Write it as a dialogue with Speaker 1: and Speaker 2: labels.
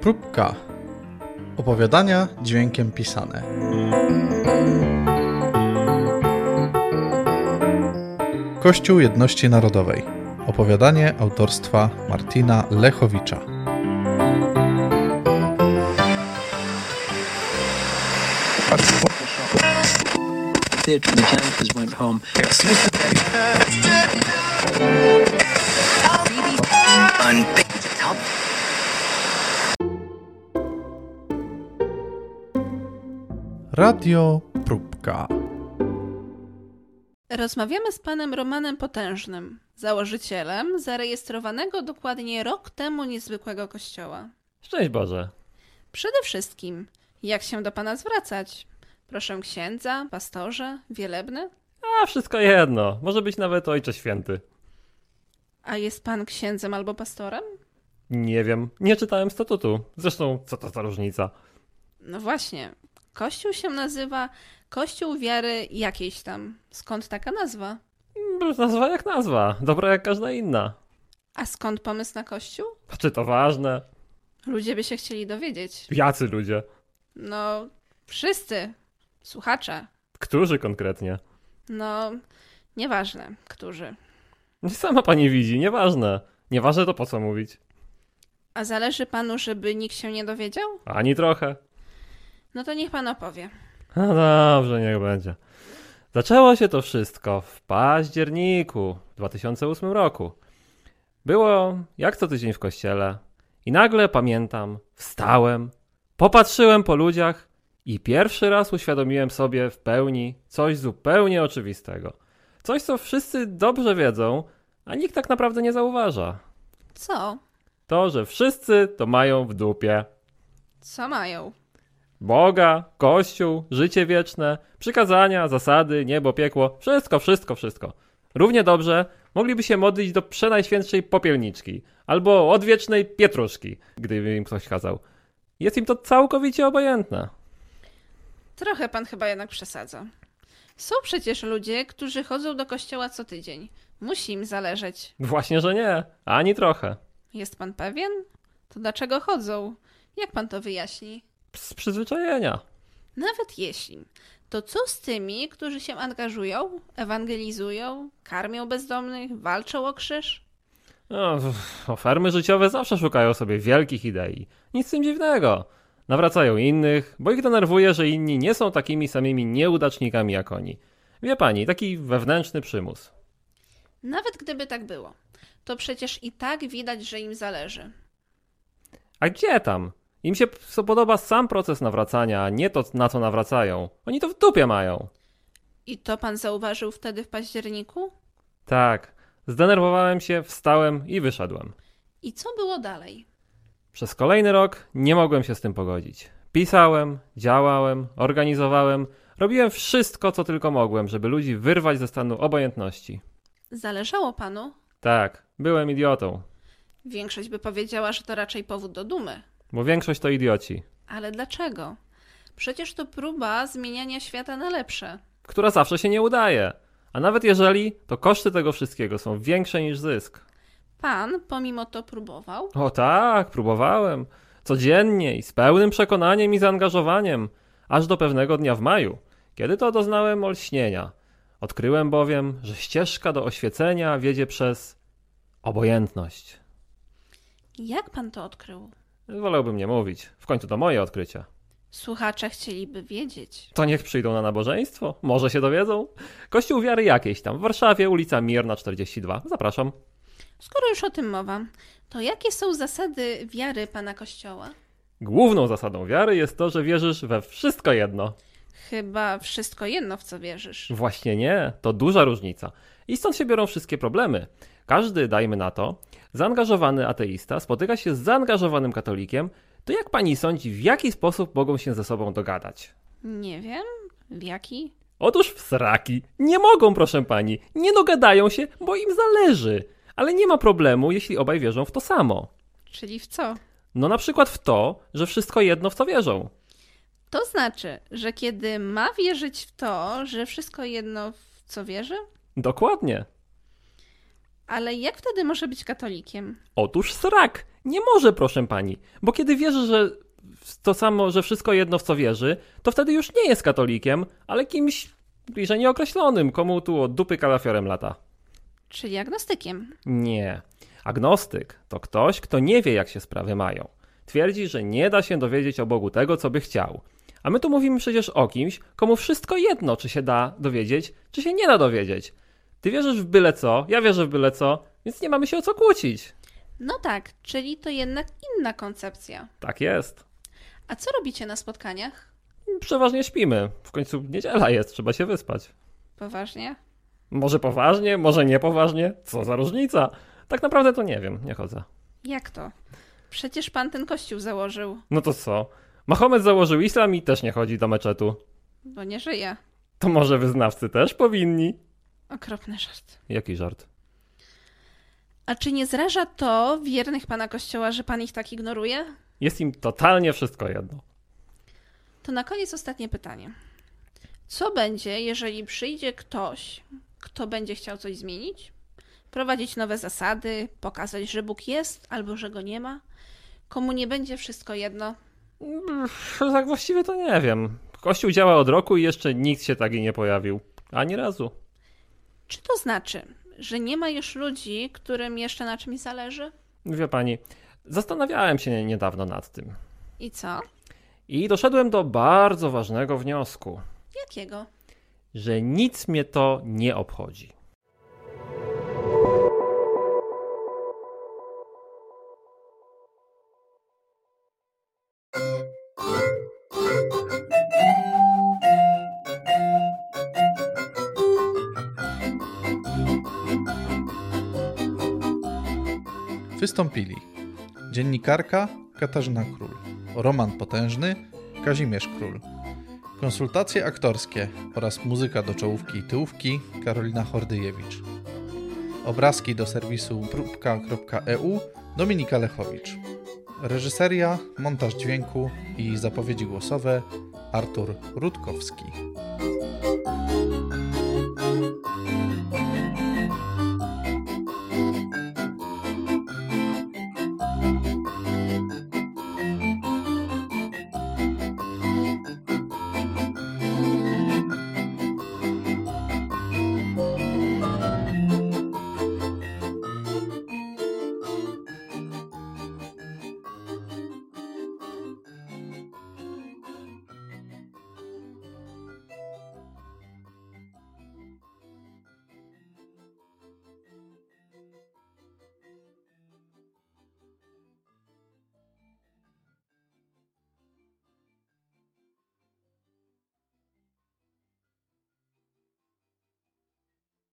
Speaker 1: Próbka. Opowiadania dźwiękiem pisane. Kościół Jedności Narodowej. Opowiadanie autorstwa Martina Lechowicza.
Speaker 2: theatre and the janitors went home.
Speaker 1: Radio Próbka.
Speaker 3: Rozmawiamy z panem Romanem Potężnym, założycielem zarejestrowanego dokładnie rok temu niezwykłego kościoła.
Speaker 4: Szczęść Boże.
Speaker 3: Przede wszystkim, jak się do pana zwracać? Proszę księdza, pastorze, wielebny?
Speaker 4: A wszystko jedno. Może być nawet Ojcze Święty.
Speaker 3: A jest pan księdzem albo pastorem?
Speaker 4: Nie wiem. Nie czytałem statutu. Zresztą, co to za różnica?
Speaker 3: No właśnie, kościół się nazywa Kościół Wiary jakiejś tam. Skąd taka nazwa?
Speaker 4: Mm, Nazwa jak nazwa. Dobra jak każda inna.
Speaker 3: A skąd pomysł na kościół?
Speaker 4: A Czy to ważne?
Speaker 3: Ludzie by się chcieli dowiedzieć.
Speaker 4: Jacy ludzie?
Speaker 3: No, wszyscy, słuchacze,
Speaker 4: Którzy konkretnie?
Speaker 3: no, nieważne, którzy.
Speaker 4: Sama pani widzi. Nieważne. Nieważne to po co mówić.
Speaker 3: A zależy panu, żeby nikt się nie dowiedział?
Speaker 4: Ani trochę.
Speaker 3: No to niech pan opowie.
Speaker 4: No dobrze, niech będzie. Zaczęło się to wszystko w październiku 2008 roku. Było jak co tydzień w kościele i nagle pamiętam, wstałem, popatrzyłem po ludziach i pierwszy raz uświadomiłem sobie w pełni coś zupełnie oczywistego. Coś, co wszyscy dobrze wiedzą, a nikt tak naprawdę nie zauważa.
Speaker 3: Co?
Speaker 4: To, że wszyscy to mają w dupie.
Speaker 3: Co mają?
Speaker 4: Boga, Kościół, życie wieczne, przykazania, zasady, niebo, piekło, wszystko, wszystko, wszystko. Równie dobrze mogliby się modlić do przenajświętszej popielniczki albo odwiecznej pietruszki, gdyby im ktoś kazał. Jest im to całkowicie obojętne.
Speaker 3: Trochę pan chyba jednak przesadza. Są przecież ludzie, którzy chodzą do kościoła co tydzień. Musi im zależeć.
Speaker 4: Właśnie, że nie, ani trochę.
Speaker 3: Jest pan pewien? To dlaczego chodzą? Jak pan to wyjaśni?
Speaker 4: Z przyzwyczajenia.
Speaker 3: Nawet jeśli, to co z tymi, którzy się angażują, ewangelizują, karmią bezdomnych, walczą o krzyż?
Speaker 4: No, o, fermy życiowe zawsze szukają sobie wielkich idei. Nic z tym dziwnego. Nawracają innych, bo ich denerwuje, że inni nie są takimi samymi nieudacznikami jak oni. Wie pani, taki wewnętrzny przymus.
Speaker 3: Nawet gdyby tak było, to przecież i tak widać, że im zależy.
Speaker 4: A gdzie tam? Im się p- so podoba sam proces nawracania, a nie to, na co nawracają. Oni to w dupie mają.
Speaker 3: I to pan zauważył wtedy w październiku?
Speaker 4: Tak. Zdenerwowałem się, wstałem i wyszedłem.
Speaker 3: I co było dalej?
Speaker 4: Przez kolejny rok nie mogłem się z tym pogodzić. Pisałem, działałem, organizowałem, robiłem wszystko, co tylko mogłem, żeby ludzi wyrwać ze stanu obojętności.
Speaker 3: Zależało panu?
Speaker 4: Tak, byłem idiotą,
Speaker 3: Większość by powiedziała, że to raczej powód do dumy.
Speaker 4: bo większość to idioci,
Speaker 3: Ale dlaczego? Przecież to próba zmieniania świata na lepsze.
Speaker 4: która zawsze się nie udaje. A nawet jeżeli, to koszty tego wszystkiego są większe niż zysk.
Speaker 3: Pan pomimo to próbował?
Speaker 4: O tak, próbowałem. Codziennie i z pełnym przekonaniem i zaangażowaniem, aż do pewnego dnia w maju, kiedy to doznałem olśnienia. Odkryłem bowiem, że ścieżka do oświecenia wiedzie przez obojętność.
Speaker 3: Jak pan to odkrył?
Speaker 4: Wolałbym nie mówić. W końcu to moje odkrycie.
Speaker 3: Słuchacze chcieliby wiedzieć.
Speaker 4: To niech przyjdą na nabożeństwo. Może się dowiedzą. Kościół wiary jakiejś tam w Warszawie, ulica Mierna 42. Zapraszam.
Speaker 3: Skoro już o tym mowa, to jakie są zasady wiary pana kościoła?
Speaker 4: Główną zasadą wiary jest to, że wierzysz we wszystko jedno.
Speaker 3: Chyba wszystko jedno, w co wierzysz.
Speaker 4: Właśnie nie, to duża różnica. I stąd się biorą wszystkie problemy. Każdy, dajmy na to, zaangażowany ateista spotyka się z zaangażowanym katolikiem, to jak pani sądzi, w jaki sposób mogą się ze sobą dogadać?
Speaker 3: Nie wiem, w jaki?
Speaker 4: Otóż w sraki. Nie mogą, proszę pani. Nie dogadają się, bo im zależy. Ale nie ma problemu, jeśli obaj wierzą w to samo.
Speaker 3: Czyli w co?
Speaker 4: No na przykład w to, że wszystko jedno w co wierzą.
Speaker 3: To znaczy, że kiedy ma wierzyć w to, że wszystko jedno w co wierzy,
Speaker 4: Dokładnie.
Speaker 3: Ale jak wtedy może być katolikiem?
Speaker 4: Otóż srak! Nie może, proszę pani, bo kiedy wierzy, że w to samo, że wszystko jedno w co wierzy, to wtedy już nie jest katolikiem, ale kimś bliżej nieokreślonym, komu tu od dupy kalafiorem lata.
Speaker 3: Czyli agnostykiem.
Speaker 4: Nie. Agnostyk to ktoś, kto nie wie, jak się sprawy mają. Twierdzi, że nie da się dowiedzieć o Bogu tego, co by chciał. A my tu mówimy przecież o kimś, komu wszystko jedno, czy się da dowiedzieć, czy się nie da dowiedzieć. Ty wierzysz w byle co, ja wierzę w byle co, więc nie mamy się o co kłócić.
Speaker 3: No tak, czyli to jednak inna koncepcja.
Speaker 4: Tak jest.
Speaker 3: A co robicie na spotkaniach?
Speaker 4: No, Przeważnie śpimy. W końcu niedziela jest, trzeba się wyspać.
Speaker 3: Poważnie?
Speaker 4: Może poważnie, może niepoważnie. Co za różnica? Tak naprawdę to nie wiem, nie chodzę.
Speaker 3: Jak to? Przecież pan ten kościół założył,
Speaker 4: No to co? Mahomet założył islam i też nie chodzi do meczetu.
Speaker 3: bo nie żyje.
Speaker 4: To może wyznawcy też powinni?
Speaker 3: Okropny żart.
Speaker 4: Jaki żart?
Speaker 3: A czy nie zraża to wiernych pana kościoła, że pan ich tak ignoruje?
Speaker 4: Jest im totalnie wszystko jedno.
Speaker 3: To na koniec ostatnie pytanie. Co będzie, jeżeli przyjdzie ktoś, kto będzie chciał coś zmienić? Prowadzić nowe zasady, pokazać, że Bóg jest albo że go nie ma? Komu nie będzie wszystko jedno?
Speaker 4: Pff, Tak właściwie to nie wiem. Kościół działa od roku i jeszcze nikt się taki nie pojawił. Ani razu.
Speaker 3: Czy to znaczy, że nie ma już ludzi, którym jeszcze na czymś zależy?
Speaker 4: Wie pani, zastanawiałem się nie- niedawno nad tym.
Speaker 3: I co?
Speaker 4: I doszedłem do bardzo ważnego wniosku,
Speaker 3: Jakiego?
Speaker 4: że nic mnie to nie obchodzi.
Speaker 1: Wystąpili dziennikarka Katarzyna Król, Roman Potężny Kazimierz Król, konsultacje aktorskie oraz muzyka do czołówki i tyłówki Karolina Hordyjewicz, obrazki do serwisu próbka.eu Dominika Lechowicz, reżyseria, montaż dźwięku i zapowiedzi głosowe Artur Rutkowski.